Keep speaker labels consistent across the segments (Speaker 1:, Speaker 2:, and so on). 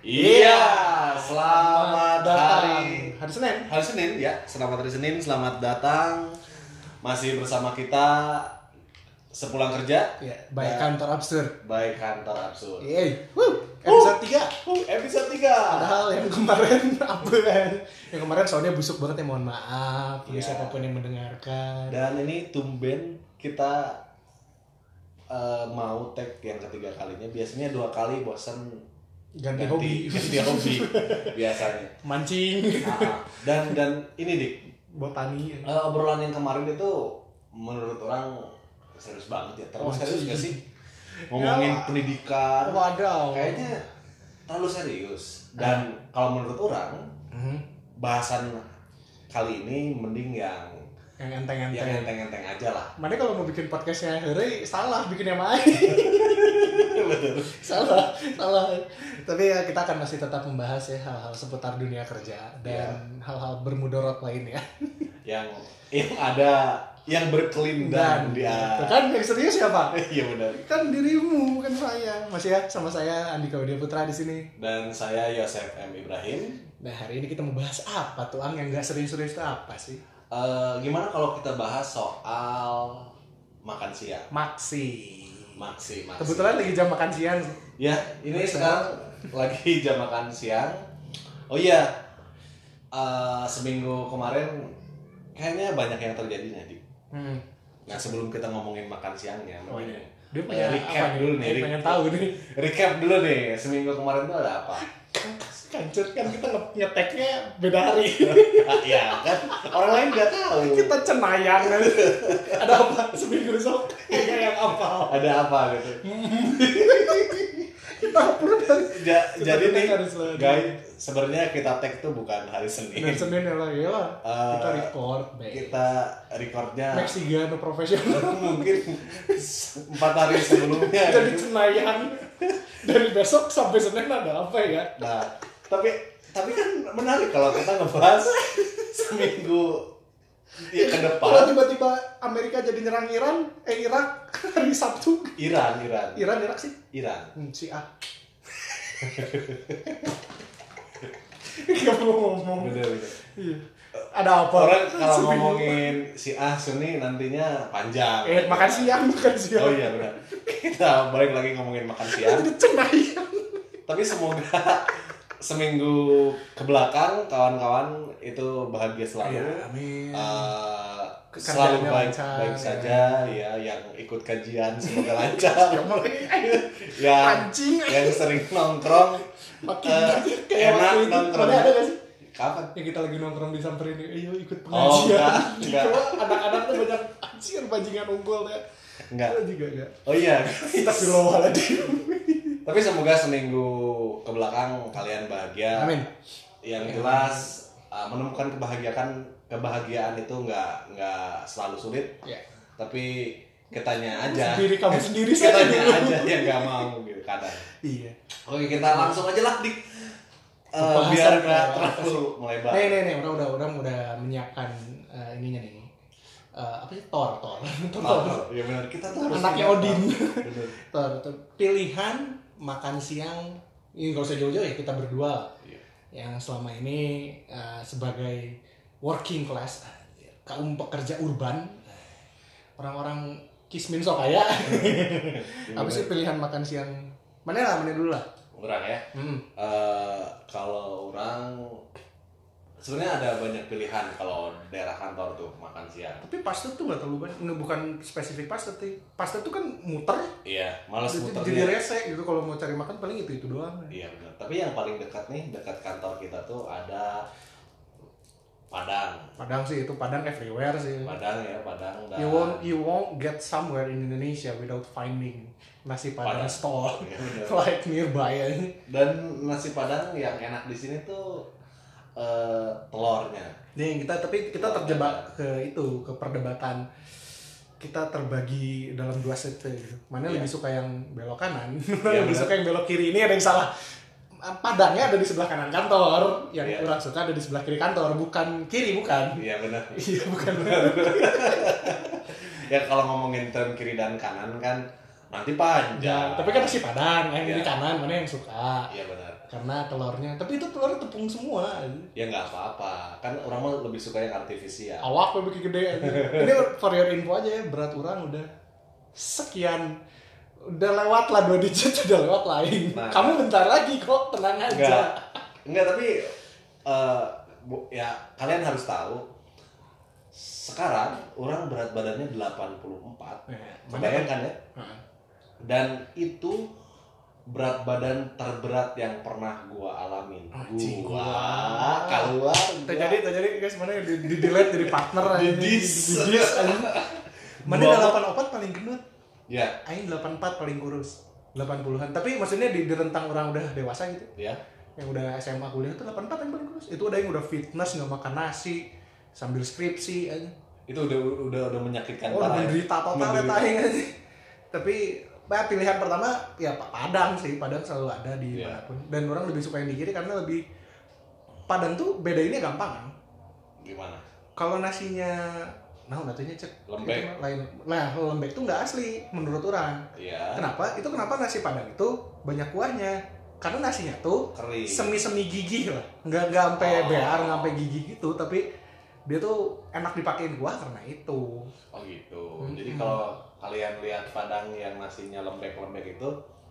Speaker 1: Iya, selamat
Speaker 2: datang.
Speaker 1: hari
Speaker 2: Hari Senin.
Speaker 1: hari Senin ya. Selamat hari Senin, selamat datang. Masih bersama kita sepulang kerja
Speaker 2: Ya,
Speaker 1: nah.
Speaker 2: baik kantor absurd.
Speaker 1: by kantor absurd.
Speaker 2: Yeay. Woo. Episode 3.
Speaker 1: Uh, episode 3.
Speaker 2: Padahal yang kemarin apa kan? Yang kemarin soalnya busuk banget ya, mohon maaf. Bagi
Speaker 1: Iya.
Speaker 2: siapapun yang mendengarkan.
Speaker 1: Dan ini tumben kita eh, mau tag yang ketiga kalinya. Biasanya dua kali bosan
Speaker 2: Ganti, hobi.
Speaker 1: ganti hobi biasanya.
Speaker 2: Mancing,
Speaker 1: Ah, dan dan ini dik
Speaker 2: botani.
Speaker 1: Eh, obrolan yang kemarin itu menurut orang serius banget ya terlalu
Speaker 2: Wah,
Speaker 1: serius
Speaker 2: cuy.
Speaker 1: gak sih ngomongin
Speaker 2: Ya,
Speaker 1: pendidikan
Speaker 2: Wadaw.
Speaker 1: kayaknya terlalu serius dan kalau menurut orang
Speaker 2: Hmm,
Speaker 1: bahasan kali ini mending yang
Speaker 2: yang enteng-enteng.
Speaker 1: yang enteng-enteng aja lah
Speaker 2: Mana kalau mau bikin podcastnya hari salah bikin yang lain. salah, salah. Tapi ya kita akan masih tetap membahas ya hal-hal seputar dunia kerja
Speaker 1: Iya.
Speaker 2: dan hal-hal bermudorot lain ya.
Speaker 1: yang yang ada yang berkelindan
Speaker 2: Tuh
Speaker 1: dia
Speaker 2: kan yang serius siapa?
Speaker 1: iya benar
Speaker 2: Kan dirimu, bukan saya. Masih ya sama saya Andika Widya Putra di sini.
Speaker 1: dan saya Yosef M Ibrahim
Speaker 2: Nah, hari ini kita mau bahas apa tuh Ang yang gak serius-serius itu apa sih?
Speaker 1: Eh, gimana kalau kita bahas soal makan siang
Speaker 2: Maksi.
Speaker 1: maksi maksi
Speaker 2: Kebetulan lagi jam makan siang.
Speaker 1: Ya, ini
Speaker 2: Bisa.
Speaker 1: sekarang lagi jam makan siang. Oh iya, eh, seminggu kemarin kayaknya banyak yang terjadi nanti.
Speaker 2: Hmm.
Speaker 1: Nah sebelum kita ngomongin makan ya, siangnya,
Speaker 2: Oh
Speaker 1: mending
Speaker 2: iya. Dia punya
Speaker 1: recap
Speaker 2: apa
Speaker 1: dulu nih,
Speaker 2: Dia pengen
Speaker 1: recap.
Speaker 2: tahu nih.
Speaker 1: recap dulu nih seminggu kemarin tuh ada apa?
Speaker 2: Kancet kan kita nge- ngeteknya beda hari.
Speaker 1: Ah, ya kan orang lain nggak tahu.
Speaker 2: kita cenayang Ada apa seminggu besok? Iya yang apa?
Speaker 1: Ada apa gitu?
Speaker 2: Kita perlu dari
Speaker 1: Ja- jadi
Speaker 2: Sebenarnya
Speaker 1: nih,
Speaker 2: harus lo-
Speaker 1: guys, sebenarnya kita tag tuh bukan hari
Speaker 2: Dan
Speaker 1: Senin.
Speaker 2: Senin ya lah, ya lah.
Speaker 1: Iya. Eh,
Speaker 2: Kita record. baik.
Speaker 1: Kita recordnya
Speaker 2: Mexican profesional.
Speaker 1: mungkin empat hari sebelumnya. gitu.
Speaker 2: dari Senayan dari besok sampai Senin ada apa ya?
Speaker 1: Nah, tapi tapi kan menarik kalau kita ngebahas seminggu ya, ke
Speaker 2: Kalau
Speaker 1: depan
Speaker 2: tiba-tiba Amerika jadi nyerang Iran, eh Irak hari Sabtu.
Speaker 1: Iran, Iran,
Speaker 2: Iran Irak sih.
Speaker 1: Iran.
Speaker 2: Hmm, si A. Gak mau ngomong.
Speaker 1: Bener, bener.
Speaker 2: Iya. Ada apa?
Speaker 1: Orang kalau
Speaker 2: Seminggu.
Speaker 1: ngomongin si Ah Suni nantinya panjang.
Speaker 2: Eh, makan siang, makan
Speaker 1: Oh
Speaker 2: siang.
Speaker 1: iya benar. Kita balik lagi ngomongin makan siang.
Speaker 2: Jadi Senayan.
Speaker 1: Tapi semoga seminggu ke belakang kawan-kawan itu bahagia selalu.
Speaker 2: Iya, amin.
Speaker 1: Eh,
Speaker 2: Kerjaannya
Speaker 1: selalu baik,
Speaker 2: lancar,
Speaker 1: baik
Speaker 2: ya.
Speaker 1: saja ya yang ikut kajian semoga lancar
Speaker 2: Ya mulai ayo.
Speaker 1: ya
Speaker 2: Anjing.
Speaker 1: yang sering nongkrong
Speaker 2: Makin
Speaker 1: eh,
Speaker 2: banyak kayak
Speaker 1: enak
Speaker 2: waktu itu.
Speaker 1: nongkrong
Speaker 2: Mana ada gak sih?
Speaker 1: kapan
Speaker 2: yang kita lagi nongkrong di samperin ayo ikut
Speaker 1: Oh,
Speaker 2: pengajian
Speaker 1: enggak,
Speaker 2: Gitu,
Speaker 1: enggak.
Speaker 2: anak-anak tuh banyak anjir bajingan unggul ya
Speaker 1: enggak
Speaker 2: Itu juga enggak
Speaker 1: oh iya
Speaker 2: kita
Speaker 1: tapi semoga seminggu ke belakang kalian bahagia
Speaker 2: amin
Speaker 1: yang jelas eh, menemukan kebahagiaan kebahagiaan itu nggak nggak selalu sulit
Speaker 2: ya
Speaker 1: tapi ketanya aja
Speaker 2: Sendiri kamu sendiri saja
Speaker 1: ketanya
Speaker 2: dulu.
Speaker 1: aja yang nggak mau gitu kadang
Speaker 2: iya
Speaker 1: oke kita langsung aja lah dik Eh,
Speaker 2: Pembahasan
Speaker 1: biar nggak
Speaker 2: kita.
Speaker 1: terlalu melebar
Speaker 2: nih nih nih orang udah orang udah menyiapkan eh, ininya nih Eh, apa sih tor tor tor,
Speaker 1: Oh,
Speaker 2: tor.
Speaker 1: ya benar kita tuh harus
Speaker 2: Anaknya
Speaker 1: punya-
Speaker 2: Odin.
Speaker 1: Bener.
Speaker 2: Tor, tor. pilihan makan siang ini gak usah jauh-jauh ya kita berdua
Speaker 1: Iya.
Speaker 2: yang selama ini eh, sebagai working class kaum pekerja urban orang-orang kismin sok kaya Iya. apa sih pilihan makan siang mana lah mana dulu lah
Speaker 1: Orang ya.
Speaker 2: hmm.
Speaker 1: Eh, kalau orang sebenarnya ada banyak pilihan kalau daerah kantor tuh makan siang.
Speaker 2: tapi pasta tuh gak terlalu banyak Nggak, bukan spesifik pasta sih pasta tuh kan muter
Speaker 1: Iya, males
Speaker 2: jadi- jadi
Speaker 1: muternya.
Speaker 2: rese gitu kalau mau cari makan paling itu itu doang
Speaker 1: Iya benar. Tapi yang paling dekat nih, dekat kantor kita tuh ada Padang.
Speaker 2: padang sih itu padang everywhere sih
Speaker 1: Padang ya, Padang dan
Speaker 2: You won't you won't get somewhere in Indonesia without finding nasi padang
Speaker 1: Padang.
Speaker 2: stall
Speaker 1: Iya, bener.
Speaker 2: like nearby.
Speaker 1: Dan nasi Padang yang enak di sini tuh eh, telurnya.
Speaker 2: Nih kita tapi kita terjebak ke itu ke perdebatan kita terbagi dalam dua sete gitu. Mana
Speaker 1: Iya.
Speaker 2: lebih suka yang belok kanan, mana
Speaker 1: Iya,
Speaker 2: lebih
Speaker 1: bener.
Speaker 2: suka yang belok kiri. Ini ada yang salah. Ah, Padangnya ada di sebelah kanan kantor, yang
Speaker 1: Iya.
Speaker 2: kurang suka ada di sebelah kiri kantor, bukan kiri bukan.
Speaker 1: Iya benar.
Speaker 2: Iya bukan.
Speaker 1: ya kalau ngomongin tren kiri dan kanan kan nanti panjang.
Speaker 2: Tapi kan nasi padang, yang
Speaker 1: Iya.
Speaker 2: di kanan mana yang suka.
Speaker 1: Iya benar.
Speaker 2: karena telurnya tapi itu telur tepung semua
Speaker 1: ya nggak apa-apa kan orang mah lebih suka yang artifisial
Speaker 2: awak lebih gede aja. ini for your info aja ya berat orang udah sekian udah lewat lah dua digit udah lewat lain
Speaker 1: Nah.
Speaker 2: kamu bentar lagi kok tenang aja Eh,
Speaker 1: Enggak. Enggak, tapi eh, bu- ya kalian harus tahu sekarang orang berat badannya 84.
Speaker 2: Eh, banyak
Speaker 1: Bayangkan ya.
Speaker 2: Heeh.
Speaker 1: Dan itu berat badan terberat yang pernah gua alamin.
Speaker 2: Anjing,
Speaker 1: gua
Speaker 2: gua.
Speaker 1: keluar. gua-
Speaker 2: terjadi terjadi guys mana di, di delete jadi partner aja
Speaker 1: Di dis.
Speaker 2: Di dis, aja. mana
Speaker 1: Bapak.
Speaker 2: delapan opat paling gendut
Speaker 1: Ya,
Speaker 2: aing delapan empat paling kurus delapan puluhan tapi maksudnya di, di rentang orang udah dewasa gitu
Speaker 1: ya.
Speaker 2: yang udah SMA kuliah itu delapan empat yang paling kurus itu ada yang udah fitness nggak makan nasi sambil skripsi aja
Speaker 1: Itu udah udah udah menyakitkan
Speaker 2: oh
Speaker 1: parah. ya.
Speaker 2: menderita total ya
Speaker 1: Menderita.
Speaker 2: aing aja tapi bah, pilihan pertama ya Pa- padang sih padang selalu ada di
Speaker 1: Iya.
Speaker 2: manapun dan orang lebih suka yang di kiri karena lebih padang tuh bedainnya gampang kan?
Speaker 1: Gimana?
Speaker 2: kalau nasinya nah nasinya cek
Speaker 1: Lembek.
Speaker 2: Itu mah lain nah lembek tuh nggak asli menurut orang
Speaker 1: Ya,
Speaker 2: kenapa itu kenapa nasi padang itu banyak kuahnya karena nasinya tuh
Speaker 1: kering.
Speaker 2: semi semi gigih lah nggak nggak sampai
Speaker 1: Oh.
Speaker 2: bear nggak sampai gigih gitu tapi dia tuh enak dipakein kuah karena itu
Speaker 1: Oh gitu.
Speaker 2: Hmm.
Speaker 1: Jadi kalau kalian lihat padang yang nasinya lembek-lembek itu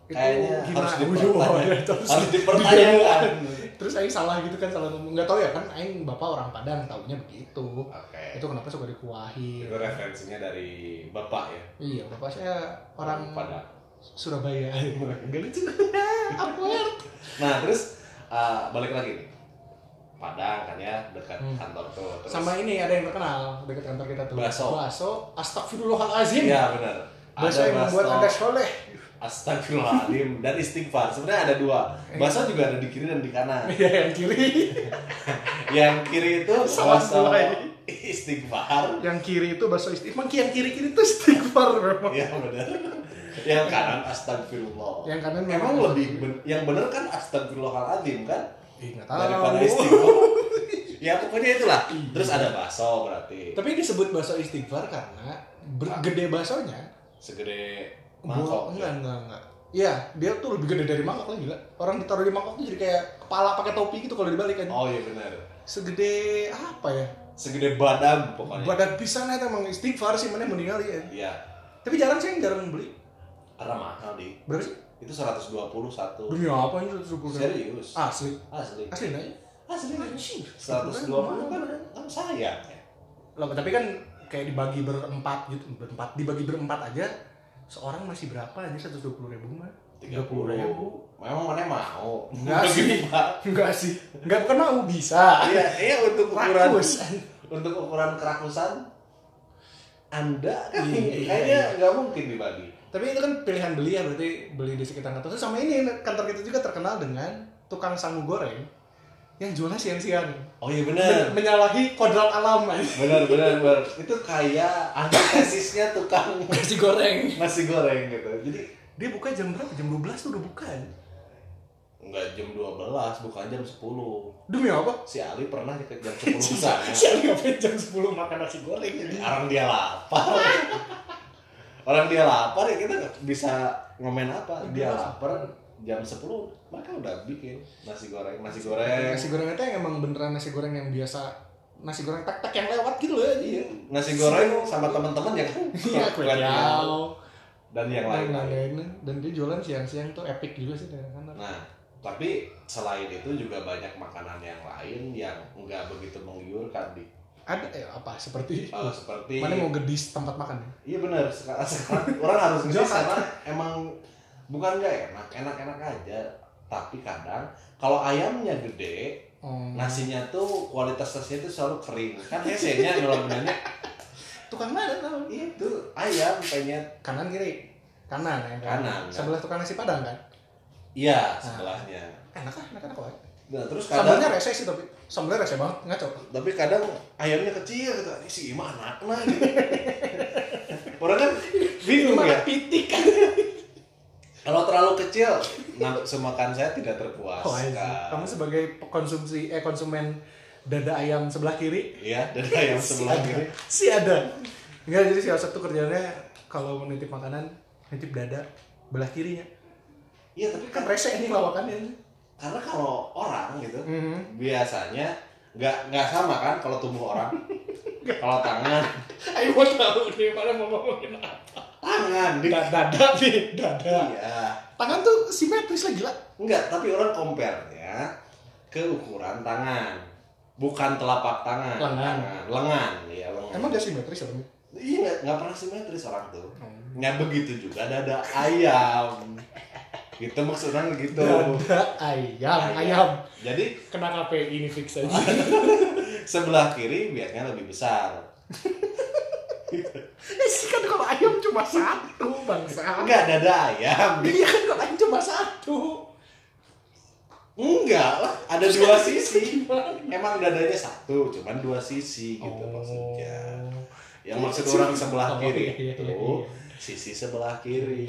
Speaker 2: itu
Speaker 1: Kayaknya harus dipertanyakan.
Speaker 2: Waduh, waduh, terus-
Speaker 1: harus dipertanyakan.
Speaker 2: terus Aing salah gitu kan salah ngomong nggak tahu ya kan Aing bapak orang Padang taunya begitu
Speaker 1: Oke.
Speaker 2: itu kenapa suka dikuahin
Speaker 1: Itu referensinya dari bapak ya.
Speaker 2: iya bapak saya orang
Speaker 1: Padang.
Speaker 2: Surabaya gak lucu upward
Speaker 1: Nah terus uh, balik lagi nih. Padang kan ya dekat
Speaker 2: Hmm.
Speaker 1: kantor tuh. Terus,
Speaker 2: sama ini ada yang terkenal dekat kantor kita tuh
Speaker 1: Bakso.
Speaker 2: baso astagfirullahalazim
Speaker 1: Iya benar.
Speaker 2: baso yang membuat
Speaker 1: baso,
Speaker 2: anda soleh
Speaker 1: Astagfirullahaladzim dan istighfar. Sebenarnya ada dua. Baso juga ada di kiri dan di kanan.
Speaker 2: iya yang kiri
Speaker 1: Yang kiri itu
Speaker 2: Salah
Speaker 1: baso
Speaker 2: mulai.
Speaker 1: istighfar.
Speaker 2: yang kiri itu baso istighfar Emang yang kiri kiri itu istighfar memang
Speaker 1: Iya benar. Yang kanan astagfirullah.
Speaker 2: yang kanan
Speaker 1: Emang lebih ben- yang bener kan astagfirullahaladzim kan
Speaker 2: Ih, nggak
Speaker 1: daripada
Speaker 2: tahu
Speaker 1: istighfar. ya pokoknya itulah. Terus ada bakso berarti
Speaker 2: tapi disebut baso istighfar karena ber- gede basonya
Speaker 1: segede
Speaker 2: Buah-
Speaker 1: mangkok.
Speaker 2: enggak enggak enggak Iya, dia tuh lebih gede dari mangkok lagi lah. Orang ditaruh di mangkok tuh jadi kayak kepala pakai topi gitu kalau dibalik kan.
Speaker 1: Oh iya benar.
Speaker 2: Segede apa ya?
Speaker 1: Segede badam pokoknya.
Speaker 2: Badan pisan eta emang istighfar sih mana meninggal ya.
Speaker 1: Iya.
Speaker 2: Tapi jarang sih yang jarang beli.
Speaker 1: Karena mahal di.
Speaker 2: Berapa sih?
Speaker 1: Itu 121.
Speaker 2: Demi apa ini 120 ribu?
Speaker 1: Serius.
Speaker 2: Asli.
Speaker 1: Asli.
Speaker 2: Ah. Asli aja.
Speaker 1: Asli.
Speaker 2: Anjing.
Speaker 1: 120 kan kan sayang ya.
Speaker 2: Loh, tapi kan kayak dibagi berempat gitu, berempat dibagi berempat aja seorang masih berapa aja 120 ribu mah?
Speaker 1: 30
Speaker 2: ribu.
Speaker 1: Memang mana mau?
Speaker 2: Enggak
Speaker 1: Untuk
Speaker 2: sih.
Speaker 1: gini, Pak.
Speaker 2: Enggak sih. Enggak bukan mau bisa.
Speaker 1: Iya, iya untuk ukuran
Speaker 2: Rakus.
Speaker 1: untuk ukuran kerakusan anda kan
Speaker 2: Iya, iya,
Speaker 1: kayaknya
Speaker 2: iya.
Speaker 1: nggak mungkin dibagi
Speaker 2: Tapi itu kan pilihan beli ya berarti beli di sekitar kantor. Terus sama ini kantor kita juga terkenal dengan tukang sangu goreng yang jualnya siang-siang.
Speaker 1: oh iya
Speaker 2: Men- menyalahi kodrat alam aja.
Speaker 1: benar benar benar itu kayak antitesisnya tukang
Speaker 2: nasi goreng.
Speaker 1: nasi goreng gitu jadi
Speaker 2: Dia buka jam berapa? Jam 12 tuh udah buka. ya.
Speaker 1: nggak jam 12, bukan jam 10
Speaker 2: Demi apa?
Speaker 1: si Ali pernah ke jam 10 kesana
Speaker 2: Siang ngapain jam 10 makan nasi goreng ini?
Speaker 1: orang dia lapar orang dia lapar ya kita nggak bisa ngomen apa dia
Speaker 2: Iya.
Speaker 1: lapar jam 10 maka udah bikin nasi goreng nasi goreng
Speaker 2: Nasi goreng itu yang emang beneran nasi goreng yang biasa nasi goreng tek-tek yang lewat gitu loh ya.
Speaker 1: Iya, nasi goreng sama teman-teman ya kan?
Speaker 2: Iya, kue tiaw.
Speaker 1: dan yang
Speaker 2: Dan
Speaker 1: lain-lain.
Speaker 2: lain-lain. Dan dia jualan siang-siang tuh epic juga sih dari kantor.
Speaker 1: Nah, tapi selain itu juga banyak makanan yang lain yang nggak begitu menggiurkan di
Speaker 2: Ada eh, apa seperti
Speaker 1: Eh, seperti
Speaker 2: Mana mau gedis tempat makan ya?
Speaker 1: iya benar sekarang, sekarang orang harus ngerti
Speaker 2: Jangan.
Speaker 1: karena emang bukan nggak enak enak-enak aja tapi kadang kalau ayamnya gede
Speaker 2: Oh.
Speaker 1: nasinya tuh kualitas nasinya tuh selalu kering kan hesenya kalau nanya
Speaker 2: tukang mana tau?
Speaker 1: itu ayam penyet
Speaker 2: Kanan kiri. Kanan ya. kan?
Speaker 1: Kanan, kan.
Speaker 2: Sebelah tukang nasi padang kan.
Speaker 1: iya sebelahnya
Speaker 2: Enak kan, enak enak kok.
Speaker 1: nah terus kadang
Speaker 2: Nah. Sambelnya rese sih tapi sambelnya rese banget ngaco.
Speaker 1: tapi kadang ayamnya kecil gitu ini si Ima anaknya gitu orang kan bingung ya
Speaker 2: Mana pitik kan.
Speaker 1: kalau terlalu kecil nafsu makan saya tidak
Speaker 2: Oh, anjing.
Speaker 1: terpuaskan
Speaker 2: Kamu sebagai konsumsi eh konsumen dada ayam sebelah kiri
Speaker 1: iya dan ayam sebelah
Speaker 2: si ada.
Speaker 1: kiri
Speaker 2: Si ada. Enggak jadi si Asep tuh kerjanya kalau mau nitip makanan nitip dada belah kirinya.
Speaker 1: iya tapi kan
Speaker 2: Kan rese ini lawakannya.
Speaker 1: karena kalau orang gitu
Speaker 2: Mhm.
Speaker 1: biasanya nggak nggak sama kan kalau tubuh orang kalau tangan
Speaker 2: Ayo mau tahu nih mana mau ngomongin apa.
Speaker 1: tangan di
Speaker 2: Da- Dada nih, dada.
Speaker 1: iya
Speaker 2: Tangan tuh simetris lah gila.
Speaker 1: nggak tapi orang compare nya ke ukuran tangan bukan telapak tangan
Speaker 2: Lengan.
Speaker 1: tangan. lengan ya lengan
Speaker 2: Emang dia Oh. simetris apa?
Speaker 1: iya nggak nggak pernah simetris orang tuh nggak begitu juga dada ayam gitu maksudnya gitu
Speaker 2: Dada ayam, ayam.
Speaker 1: jadi
Speaker 2: Kena KPI ini fix aja.
Speaker 1: sebelah kiri biasanya lebih besar
Speaker 2: Sih kan kalau ayam cuma satu bangsa.
Speaker 1: enggak dada ayam
Speaker 2: Iya kan kalau ayam cuma satu.
Speaker 1: enggak lah ada dua sisi emang dadanya satu cuman dua sisi gitu maksudnya yang maksud orang sebelah
Speaker 2: Oh,
Speaker 1: kiri
Speaker 2: iya, iya,
Speaker 1: itu
Speaker 2: iya, iya.
Speaker 1: sisi sebelah kiri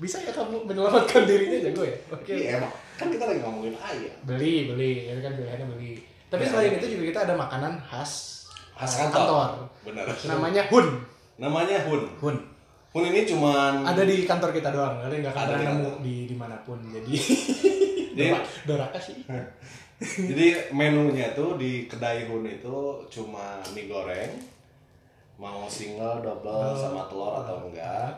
Speaker 2: Bisa ya kamu menyelamatkan dirinya jago ya? Oke.
Speaker 1: iya emang kan kita lagi ngomongin ayam
Speaker 2: Beli, beli. Itu kan pilihannya beli. Tapi
Speaker 1: Ya.
Speaker 2: selain itu juga kita ada makanan khas
Speaker 1: khas
Speaker 2: eh,
Speaker 1: kantor, bener
Speaker 2: Namanya hun.
Speaker 1: namanya hun
Speaker 2: Hun.
Speaker 1: hun ini cuman
Speaker 2: Ada di kantor kita doang, kalian nggak
Speaker 1: Ada
Speaker 2: kadang
Speaker 1: di
Speaker 2: nemu
Speaker 1: kantor.
Speaker 2: di dimanapun. Jadi
Speaker 1: Jadi-
Speaker 2: Dora- Doraka sih.
Speaker 1: Jadi menunya tuh di kedai Hun itu cuma mie goreng, mau single, double,
Speaker 2: Oh.
Speaker 1: sama telur atau enggak,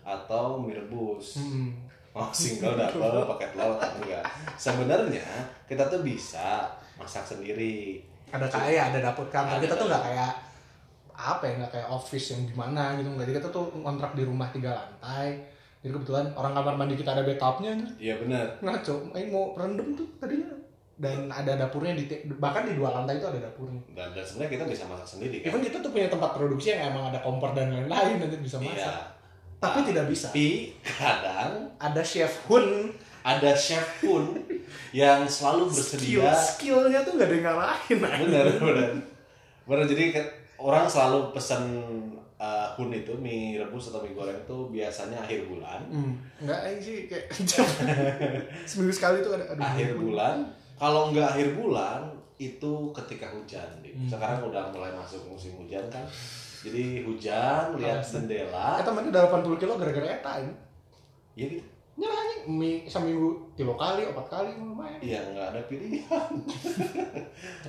Speaker 1: atau mie rebus.
Speaker 2: Hmm.
Speaker 1: Mau single, double, pakai telur atau enggak. Sebenarnya kita tuh bisa masak sendiri.
Speaker 2: Ada kayak ada dapur kantor kita tuh nggak kayak apa ya nggak kayak office yang gimana gitu nggak jadi kita tuh kontrak di rumah tiga lantai jadi kebetulan orang kamar mandi kita ada bathtubnya
Speaker 1: Iya bener.
Speaker 2: ngaco main eh, mau rendem tuh tadinya dan ada dapurnya di ti- bahkan di dua lantai itu ada dapurnya
Speaker 1: Dan, dan sebenarnya kita bisa masak sendiri kan.
Speaker 2: even kita tuh punya tempat produksi yang emang ada kompor dan lain-lain nanti bisa
Speaker 1: Iya.
Speaker 2: masak tapi tidak bisa
Speaker 1: Tapi kadang
Speaker 2: ada chef Hun
Speaker 1: ada chef Hun yang selalu
Speaker 2: skill
Speaker 1: bersedia
Speaker 2: skillnya tuh nggak ada yang ngalahin
Speaker 1: bener bener bener jadi ke- orang selalu pesan eh, hun itu mie rebus atau mie goreng tuh biasanya akhir bulan
Speaker 2: hmm. nggak eh, sih kayak jam seminggu sekali tuh ada aduh
Speaker 1: akhir
Speaker 2: Hun.
Speaker 1: bulan kalau nggak akhir bulan itu ketika hujan Dik.
Speaker 2: Hmm.
Speaker 1: sekarang udah mulai masuk musim hujan kan jadi hujan lihat jendela
Speaker 2: Eta mana udah 80 kilo gara-gara eta ini.
Speaker 1: ya gitu
Speaker 2: Nyerah anjing mie seminggu tiga kali, empat kali lumayan.
Speaker 1: ya nggak ada pilihan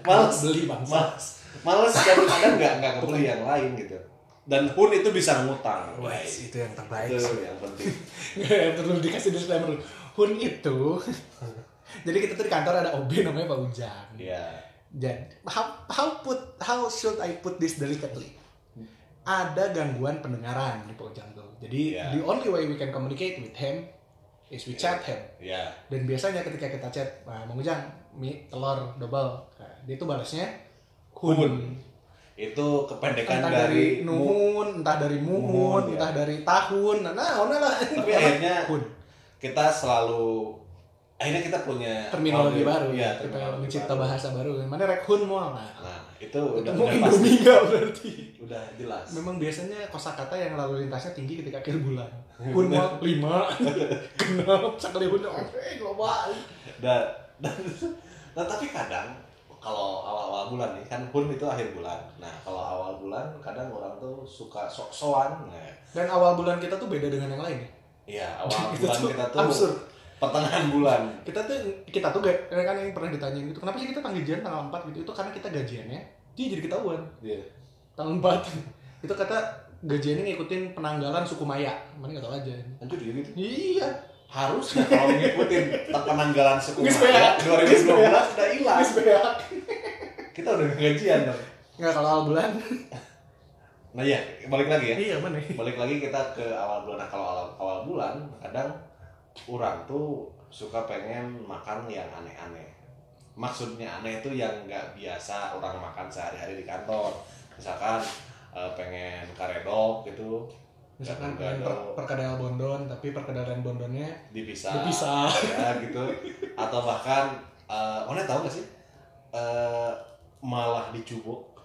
Speaker 1: males
Speaker 2: beli bangsa.
Speaker 1: males males dan kadang nggak nggak kebeli yang lain gitu dan hun itu bisa ngutang
Speaker 2: Wah, itu yang terbaik.
Speaker 1: itu yang penting
Speaker 2: Terus dikasih disclaimer dulu. Hun itu. Jadi kita tuh di kantor ada OB namanya Pak Ujang.
Speaker 1: ya
Speaker 2: Jadi how, how put how should I put this delicately? Ada gangguan pendengaran di Pak Ujang tuh. Jadi
Speaker 1: Iya.
Speaker 2: the only way we can communicate with him is we chat him.
Speaker 1: ya
Speaker 2: Dan biasanya ketika kita chat, nah, Mang Ujang, mie, telur, double. Nah, dia tuh balasnya kun.
Speaker 1: Kun. itu kependekan
Speaker 2: Entah
Speaker 1: dari,
Speaker 2: dari, nuhun, entah dari muhun,
Speaker 1: Muhun, ya.
Speaker 2: entah dari tahun. Nah, nah, nah, nah.
Speaker 1: tapi akhirnya
Speaker 2: kun.
Speaker 1: kita selalu akhirnya kita punya
Speaker 2: Terminologi baru.
Speaker 1: ya
Speaker 2: kita
Speaker 1: terminologi
Speaker 2: mencipta
Speaker 1: baru.
Speaker 2: bahasa baru. Mana rek hun mau nah.
Speaker 1: nah itu udah
Speaker 2: Ketemu
Speaker 1: udah pasti
Speaker 2: Indomie nggak berarti.
Speaker 1: udah jelas
Speaker 2: Memang biasanya kosakata yang lalu lintasnya tinggi ketika akhir bulan. Hun mau lima, genap, sekali hun, eh global.
Speaker 1: dan, dan nah tapi kadang kalau awal-awal bulan nih kan pun itu akhir bulan nah kalau awal bulan kadang orang tuh suka sok-sokan nah
Speaker 2: Dan awal bulan kita tuh beda dengan yang lain. ya.
Speaker 1: ya awal
Speaker 2: Itu
Speaker 1: bulan
Speaker 2: tuh
Speaker 1: kita tuh
Speaker 2: absurd.
Speaker 1: pertengahan bulan
Speaker 2: kita tuh kita tuh gak kan yang pernah ditanyain gitu kenapa sih kita gajian tanggal 4 gitu itu karena kita gajiannya dia jadi ketahuan
Speaker 1: Iya.
Speaker 2: tanggal 4 itu kata gajiannya ngikutin penanggalan suku Maya mana nggak tahu aja
Speaker 1: hancur diri tuh
Speaker 2: iya
Speaker 1: gitu. harusnya kalau ngikutin penanggalan suku
Speaker 2: Nggak
Speaker 1: Maya
Speaker 2: sepihak.
Speaker 1: 2012
Speaker 2: Nggak
Speaker 1: udah hilang kita udah gajian dong
Speaker 2: nggak kalau awal bulan
Speaker 1: Nah ya, balik lagi ya.
Speaker 2: iya mana
Speaker 1: Balik lagi kita ke awal bulan. Nah, kalau awal, awal bulan, kadang orang tuh suka pengen makan yang aneh-aneh. Maksudnya aneh itu yang nggak biasa orang makan sehari-hari di kantor. Misalkan eh, pengen karedok gitu, Nggak
Speaker 2: misalkan pengen
Speaker 1: ada.
Speaker 2: per- perkedel bondon tapi perkedel dan bondonnya
Speaker 1: dipisah,
Speaker 2: dipisah
Speaker 1: ya gitu. Atau bahkan, eh One tahu nggak sih? Eh, malah dicubuk.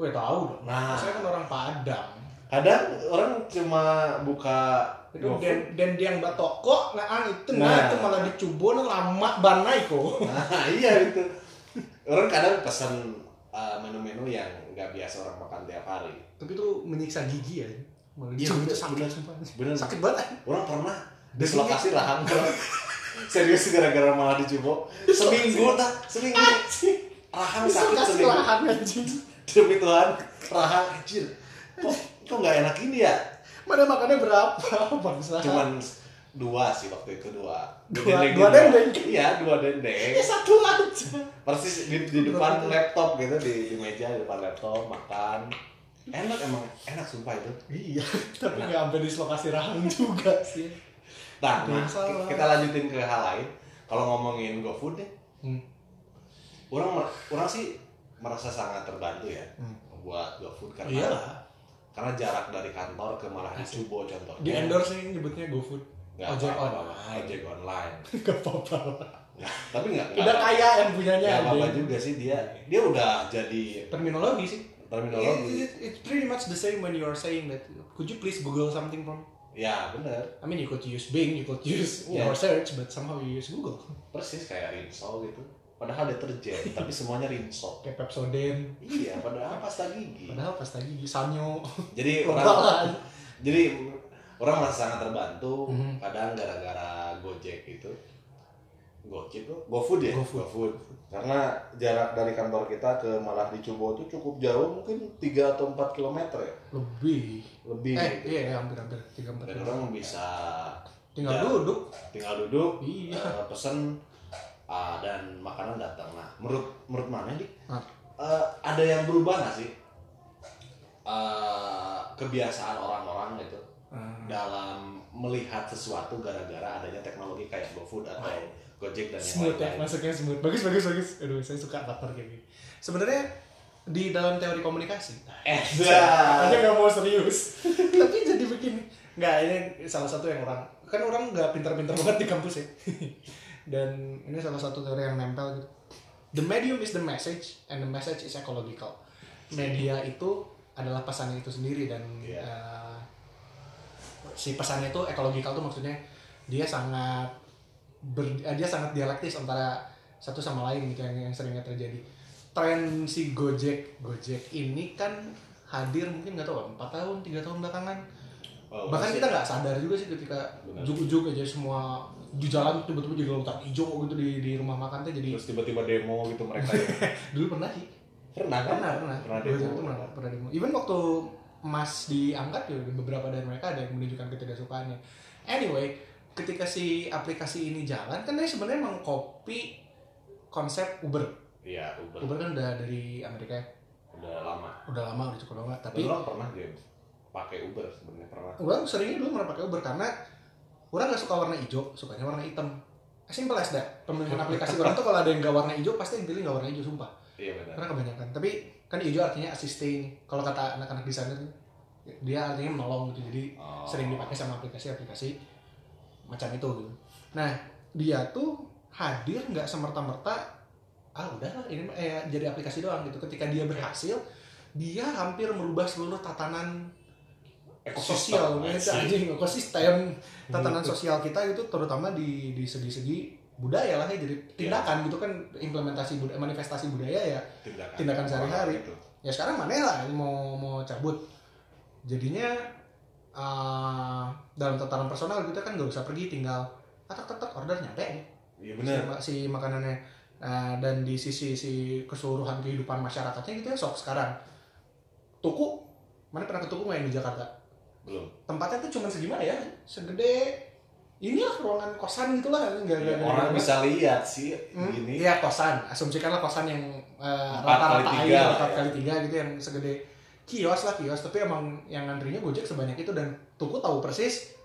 Speaker 2: gue oh ya tahu dong
Speaker 1: Nah,
Speaker 2: saya kan orang Padang
Speaker 1: kadang orang cuma buka
Speaker 2: itu
Speaker 1: GoFood.
Speaker 2: den den diang batoko nah itu
Speaker 1: Nah.
Speaker 2: nah, itu malah dicubo nah, lama banai kok
Speaker 1: Nah, iya itu. Orang kadang pesan uh, menu-menu yang nggak biasa orang makan tiap hari.
Speaker 2: tapi itu menyiksa gigi ya malah
Speaker 1: Iya,
Speaker 2: dicubo
Speaker 1: bener,
Speaker 2: itu sakit
Speaker 1: bener.
Speaker 2: sumpah
Speaker 1: Bener.
Speaker 2: sakit banget
Speaker 1: Orang pernah dislokasi rahang bro. serius gara-gara malah dicubuk seminggu tak seminggu rahang sakit
Speaker 2: Suka
Speaker 1: seminggu
Speaker 2: sekolahan anjing.
Speaker 1: demi Tuhan rahang anjir kok kok nggak enak ini ya
Speaker 2: Mana makannya berapa bangsa?
Speaker 1: cuman dua sih waktu itu dua
Speaker 2: Dua-
Speaker 1: Dendeng
Speaker 2: dua
Speaker 1: di-
Speaker 2: dendeng?
Speaker 1: iya dua dendeng
Speaker 2: Ya satu aja.
Speaker 1: persis di, di depan laptop gitu di, di meja di depan laptop makan enak emang enak sumpah itu
Speaker 2: Iya, tapi nggak sampai dislokasi rahang juga sih.
Speaker 1: nah, nah,
Speaker 2: Salah.
Speaker 1: kita lanjutin ke hal lain kalau ngomongin GoFood deh
Speaker 2: Hmm.
Speaker 1: orang mer- orang sih merasa sangat terbantu ya
Speaker 2: Hmm. Iya
Speaker 1: buat GoFood karena
Speaker 2: Iyalah.
Speaker 1: karena jarak dari kantor ke malah di Subo contohnya
Speaker 2: Iya. Di endorse nih nyebutnya GoFood.
Speaker 1: Nggak
Speaker 2: ojek
Speaker 1: apa-apa,
Speaker 2: online.
Speaker 1: ojek online
Speaker 2: Gak apa-apa lah.
Speaker 1: Nggak, tapi nggak
Speaker 2: Udah
Speaker 1: nggak-
Speaker 2: kaya yang punyanya.
Speaker 1: nggak Iya, apa-apa
Speaker 2: anjing.
Speaker 1: juga sih dia dia udah jadi
Speaker 2: Terminologi sih.
Speaker 1: terminologi
Speaker 2: It- it- it's pretty much the same when you are saying that. Could you please Google something from?
Speaker 1: ya bener
Speaker 2: I mean, you could use Bing, you could use
Speaker 1: Yeah.
Speaker 2: your search, but somehow you use Google.
Speaker 1: persis kayak rinso gitu padahal deterjen tapi semuanya rinso
Speaker 2: Kayak Pepsodent,
Speaker 1: iya padahal pasta gigi
Speaker 2: padahal pas tadi Sanyo,
Speaker 1: jadi orang
Speaker 2: Lokalan.
Speaker 1: jadi orang merasa sangat terbantu
Speaker 2: Mhm.
Speaker 1: kadang gara-gara gojek itu gojek tuh gofood ya
Speaker 2: GoFood.
Speaker 1: karena jarak dari kantor kita ke malah di Cubo itu cukup jauh mungkin 3 atau 4 km ya
Speaker 2: Lebih.
Speaker 1: lebih
Speaker 2: eh,
Speaker 1: gitu
Speaker 2: iya, hampir-hampir. Tiga empat.
Speaker 1: dan orang bisa
Speaker 2: Tinggal
Speaker 1: Ya.
Speaker 2: duduk.
Speaker 1: tinggal duduk
Speaker 2: Iya.
Speaker 1: eh, pesen ah, dan makanan datang nah menurut menurut mana nih
Speaker 2: Ah.
Speaker 1: Eh, ada yang berubah nggak sih Eh, kebiasaan orang-orang gitu
Speaker 2: Hmm.
Speaker 1: dalam melihat sesuatu gara-gara adanya teknologi kayak GoFood atau Gojek dan yang
Speaker 2: Ah. smooth ya,
Speaker 1: lain-lain
Speaker 2: masuknya smooth. Bagus, bagus, bagus. Aduh, saya suka partner kayak gini. Sebenarnya di dalam teori komunikasi,
Speaker 1: eh dah.
Speaker 2: aja nggak mau serius. Tapi jadi bikin nggak ini salah satu yang orang kan orang nggak pintar-pintar banget di kampus ya. Dan ini salah satu teori yang nempel gitu. The medium is the message and the message is ecological. Media itu adalah pesannya itu sendiri dan
Speaker 1: Iya.
Speaker 2: eh, si pesannya itu ecological tuh maksudnya dia sangat ber- eh, dia sangat dialektis antara satu sama lain gitu yang, yang seringnya terjadi tren si Gojek Gojek ini kan hadir mungkin nggak tahu empat tahun tiga tahun belakangan
Speaker 1: Oh,
Speaker 2: bahkan
Speaker 1: masih-
Speaker 2: kita nggak sadar juga sih ketika
Speaker 1: Benar.
Speaker 2: ujuk-ujuk aja semua di jalan tuh tiba-tiba jadi lautan hijau gitu di, di rumah makan tuh jadi
Speaker 1: terus tiba-tiba demo gitu mereka ya.
Speaker 2: dulu pernah sih
Speaker 1: pernah kan
Speaker 2: pernah pernah
Speaker 1: pernah
Speaker 2: Gojek
Speaker 1: demo
Speaker 2: tuh pernah pernah demo even waktu Mas diangkat juga beberapa dari mereka ada yang menunjukkan ketidaksukaannya anyway ketika si aplikasi ini jalan kan dia sebenarnya mengcopy konsep Uber
Speaker 1: iya Uber
Speaker 2: Uber kan udah dari Amerika ya.
Speaker 1: udah lama
Speaker 2: udah lama udah cukup lama
Speaker 1: tapi
Speaker 2: tapi
Speaker 1: orang pernah game pakai Uber sebenarnya pernah
Speaker 2: orang seringnya dulu pernah pakai Uber karena orang nggak suka warna hijau sukanya warna hitam As simple as that pemilihan aplikasi orang tuh kalau ada yang nggak warna hijau pasti yang pilih nggak warna hijau sumpah
Speaker 1: iya benar
Speaker 2: karena kebanyakan tapi kan hijau artinya assisting kalau kata anak-anak di sana tuh, dia artinya menolong gitu jadi
Speaker 1: Oh.
Speaker 2: sering dipakai sama aplikasi-aplikasi macam itu gitu. Nah dia tuh hadir nggak semerta-merta ah udahlah ini mah- eh, jadi aplikasi doang gitu. Ketika dia berhasil dia hampir merubah seluruh tatanan sosial, gitu,
Speaker 1: anjing.
Speaker 2: anjing, ekosistem, tatanan sosial kita itu terutama di di segi-segi budaya lah ya jadi tindakan gitu kan implementasi budaya, manifestasi budaya ya
Speaker 1: tindakan,
Speaker 2: tindakan sehari-hari.
Speaker 1: Gitu.
Speaker 2: ya sekarang mana lah yang mau mau cabut jadinya eh, dalam tataran personal kita kan nggak usah pergi tinggal tak tak tak order nyampe ya.
Speaker 1: iya
Speaker 2: si,
Speaker 1: benar
Speaker 2: ma- si makanannya Eh, dan di sisi si keseluruhan kehidupan masyarakatnya gitu ya sok sekarang tuku mana pernah ke tuku nggak yang di Jakarta
Speaker 1: belum
Speaker 2: tempatnya tuh cuman segimana ya segede inilah ruangan kosan gitulah nggak nggak- nggak-
Speaker 1: Iya, orang
Speaker 2: nggak-
Speaker 1: bisa lihat sih
Speaker 2: Iya, Hmm,
Speaker 1: gini
Speaker 2: Iya kosan, asumsikanlah kosan yang eh,
Speaker 1: Empat
Speaker 2: rata-rata
Speaker 1: kali tiga
Speaker 2: air
Speaker 1: lah
Speaker 2: empat
Speaker 1: ya.
Speaker 2: kali tiga gitu yang segede kios lah kios, tapi emang yang ngantrinya gojek sebanyak itu dan tuku tahu persis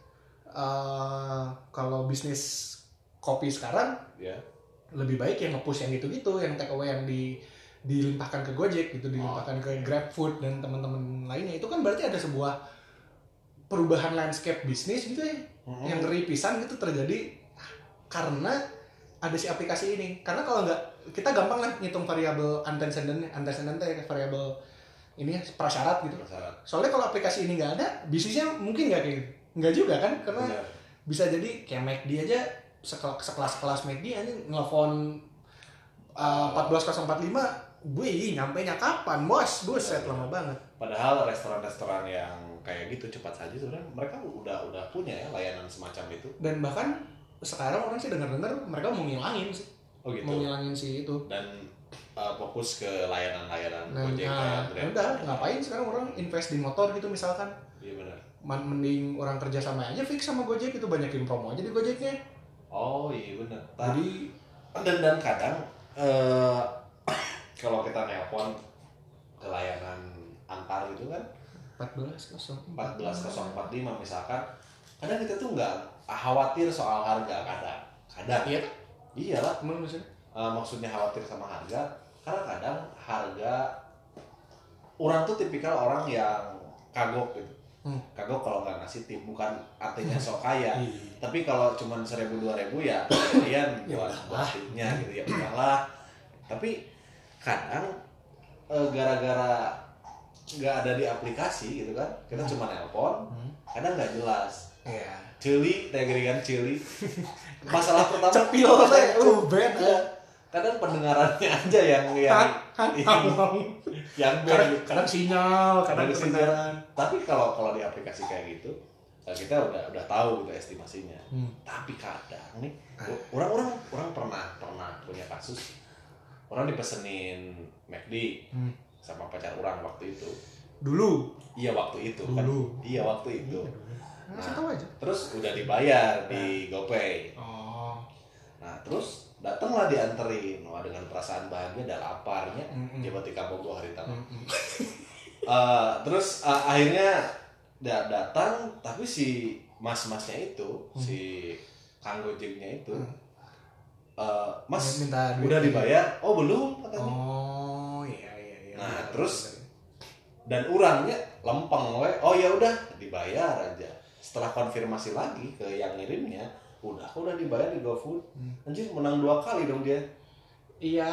Speaker 2: eh, kalau bisnis kopi sekarang
Speaker 1: ya
Speaker 2: lebih baik yang nge-push yang gitu-gitu, yang take away yang di dilimpahkan ke Gojek gitu, dilimpahkan ke GrabFood dan teman-teman lainnya itu kan berarti ada sebuah perubahan landscape bisnis gitu ya
Speaker 1: Mhm.
Speaker 2: yang ngeri pisan gitu terjadi karena ada si aplikasi ini karena kalau nggak kita gampang lah ngitung variabel antecedent antecedent teh variabel ini ya, prasyarat gitu
Speaker 1: Penasaran.
Speaker 2: soalnya kalau aplikasi ini nggak ada bisnisnya mungkin nggak kayak gitu nggak juga kan karena
Speaker 1: Benar.
Speaker 2: bisa jadi kayak McD aja sekel- sekelas-kelas McD aja nelfon uh, 14045 Wih, nyampe nya kapan, bos? Buset,
Speaker 1: Iya, iya.
Speaker 2: lama banget.
Speaker 1: Padahal restoran-restoran yang kayak gitu cepat saja sebenarnya mereka udah udah punya ya layanan semacam itu.
Speaker 2: Dan bahkan sekarang orang sih dengar-dengar mereka mau ngilangin sih,
Speaker 1: oh gitu
Speaker 2: mau ngilangin si itu.
Speaker 1: dan uh, fokus ke layanan-layanan
Speaker 2: Nah,
Speaker 1: Gojek
Speaker 2: nah,
Speaker 1: kayak Grab.
Speaker 2: udah ngapain sekarang orang invest di motor gitu misalkan
Speaker 1: iya benar
Speaker 2: Man- mending orang kerja sama aja fix sama Gojek itu banyakin promo aja di Gojeknya.
Speaker 1: oh iya benar Tapi
Speaker 2: Jadi
Speaker 1: dan dan kadang eh kalau kita nelpon ke layanan antar gitu kan
Speaker 2: 14.04.
Speaker 1: 14045 misalkan kadang kita tuh nggak khawatir soal harga kadang kadang
Speaker 2: Iya
Speaker 1: kan iyalah
Speaker 2: Cuman maksudnya
Speaker 1: Eh, maksudnya khawatir sama harga karena kadang harga orang tuh tipikal orang yang kagok gitu
Speaker 2: Hmm.
Speaker 1: kagok kalau nggak ngasih tip bukan artinya sok kaya
Speaker 2: Iya.
Speaker 1: tapi kalau cuman seribu dua ribu ya kalian
Speaker 2: Ya
Speaker 1: buat
Speaker 2: udahlah.
Speaker 1: buat tipnya gitu ya udahlah tapi kadang eh, gara-gara nggak ada di aplikasi gitu kan kita cuma nelpon
Speaker 2: Hmm.
Speaker 1: kadang nggak jelas
Speaker 2: Iya.
Speaker 1: celi tegerikan celi kan, masalah pertama
Speaker 2: Cepil teh, uh, band.
Speaker 1: Iya. kadang pendengarannya aja yang yang yang, yang band
Speaker 2: Iya. Kadang,
Speaker 1: gitu.
Speaker 2: kadang sinyal,
Speaker 1: Kadang
Speaker 2: kadang
Speaker 1: sinyal.
Speaker 2: kebenaran.
Speaker 1: tapi kalau kalau di aplikasi kayak gitu eh, kita udah udah tahu gitu estimasinya
Speaker 2: Hmm.
Speaker 1: tapi kadang nih
Speaker 2: Ah.
Speaker 1: u- orang-orang orang pernah pernah punya kasus orang dipesenin McD
Speaker 2: Hmm.
Speaker 1: sama pacar orang waktu itu
Speaker 2: Dulu,
Speaker 1: iya waktu itu kan
Speaker 2: dulu.
Speaker 1: iya waktu itu
Speaker 2: Ngasih tahu aja.
Speaker 1: terus udah dibayar di
Speaker 2: Nah.
Speaker 1: GoPay
Speaker 2: Oh.
Speaker 1: nah terus datanglah dianterin wah dengan perasaan bahagia dan laparnya
Speaker 2: Mm-mm.
Speaker 1: tiba tiba bobo hari tangan
Speaker 2: Mm-mm.
Speaker 1: Eh, terus eh, akhirnya da- datang tapi si mas-masnya itu
Speaker 2: Hmm.
Speaker 1: si kang gojeknya itu
Speaker 2: Hmm.
Speaker 1: eh, mas
Speaker 2: Iya, minta duit
Speaker 1: udah dibayar oh belum katanya
Speaker 2: Oh, iya iya iya.
Speaker 1: Nah, terus- dan orangnya lempeng we oh ya udah dibayar aja setelah konfirmasi lagi ke yang ngirimnya udah kok udah dibayar di GoFood
Speaker 2: Hmm.
Speaker 1: anjir menang dua kali dong dia
Speaker 2: Iya,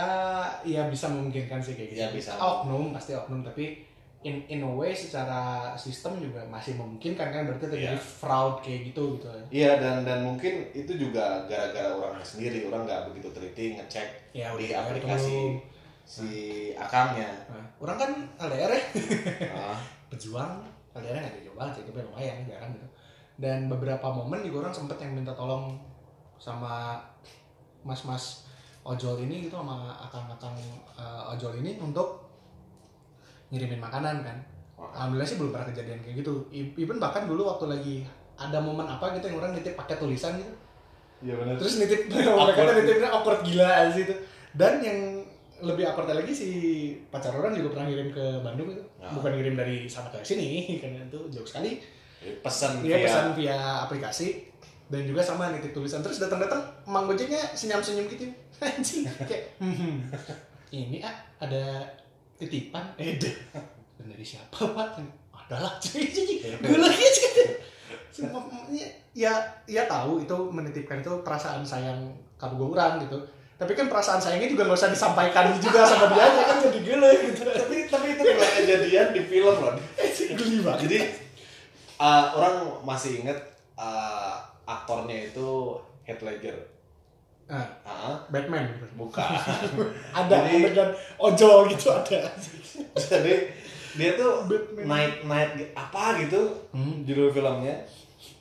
Speaker 2: iya bisa memungkinkan sih kayak gitu.
Speaker 1: Iya, bisa.
Speaker 2: Oknum pasti oknum tapi in in a way secara sistem juga masih memungkinkan kan berarti terjadi fraud kayak gitu gitu ya.
Speaker 1: iya dan dan mungkin itu juga gara-gara orangnya sendiri orang nggak begitu teliti ngecek
Speaker 2: Ya
Speaker 1: Iya, di
Speaker 2: udah,
Speaker 1: aplikasi
Speaker 2: tolong.
Speaker 1: si akangnya
Speaker 2: Nah, orang kan LDR ya,
Speaker 1: Ah,
Speaker 2: pejuang LDR nggak ada jauh banget sih, tapi lumayan jarang gitu. Dan beberapa momen juga orang sempet yang minta tolong sama mas-mas ojol ini gitu sama akang-akang eh, ojol ini untuk ngirimin makanan kan.
Speaker 1: wah,
Speaker 2: Alhamdulillah sih belum pernah kejadian kayak gitu. E- Even bahkan dulu waktu lagi ada momen apa gitu yang orang nitip pakai tulisan gitu.
Speaker 1: iya benar
Speaker 2: Terus nitip mereka tuh nitipnya awkward gila aja itu. Dan yang lebih awkward lagi si pacar orang juga pernah ngirim ke Bandung itu.
Speaker 1: Nah.
Speaker 2: Bukan ngirim dari sana ke sini karena itu jauh sekali.
Speaker 1: Jadi pesan
Speaker 2: Dia
Speaker 1: via
Speaker 2: Iya, pesan via aplikasi dan juga sama nitip tulisan terus datang-datang emang gojeknya senyum-senyum gitu anjing kayak "Hmm, ini ah ada titipan eh deh. Dan dari siapa pak adalah cuy gue lagi aja Semua- ya ya tahu itu menitipkan itu perasaan sayang kagum orang gitu tapi kan perasaan sayangnya juga nggak usah disampaikan juga sama dia aja kan jadi gila gitu
Speaker 1: tapi tapi itu pernah kejadian di film loh
Speaker 2: geli banget
Speaker 1: jadi uh, orang masih inget uh, aktornya itu Heath Ledger
Speaker 2: Ah.
Speaker 1: Ah,
Speaker 2: Batman
Speaker 1: bukan
Speaker 2: ada
Speaker 1: Jadi-
Speaker 2: adegan ojol gitu ada
Speaker 1: jadi dia tuh
Speaker 2: Batman.
Speaker 1: night night gi- apa gitu
Speaker 2: Hmm.
Speaker 1: judul filmnya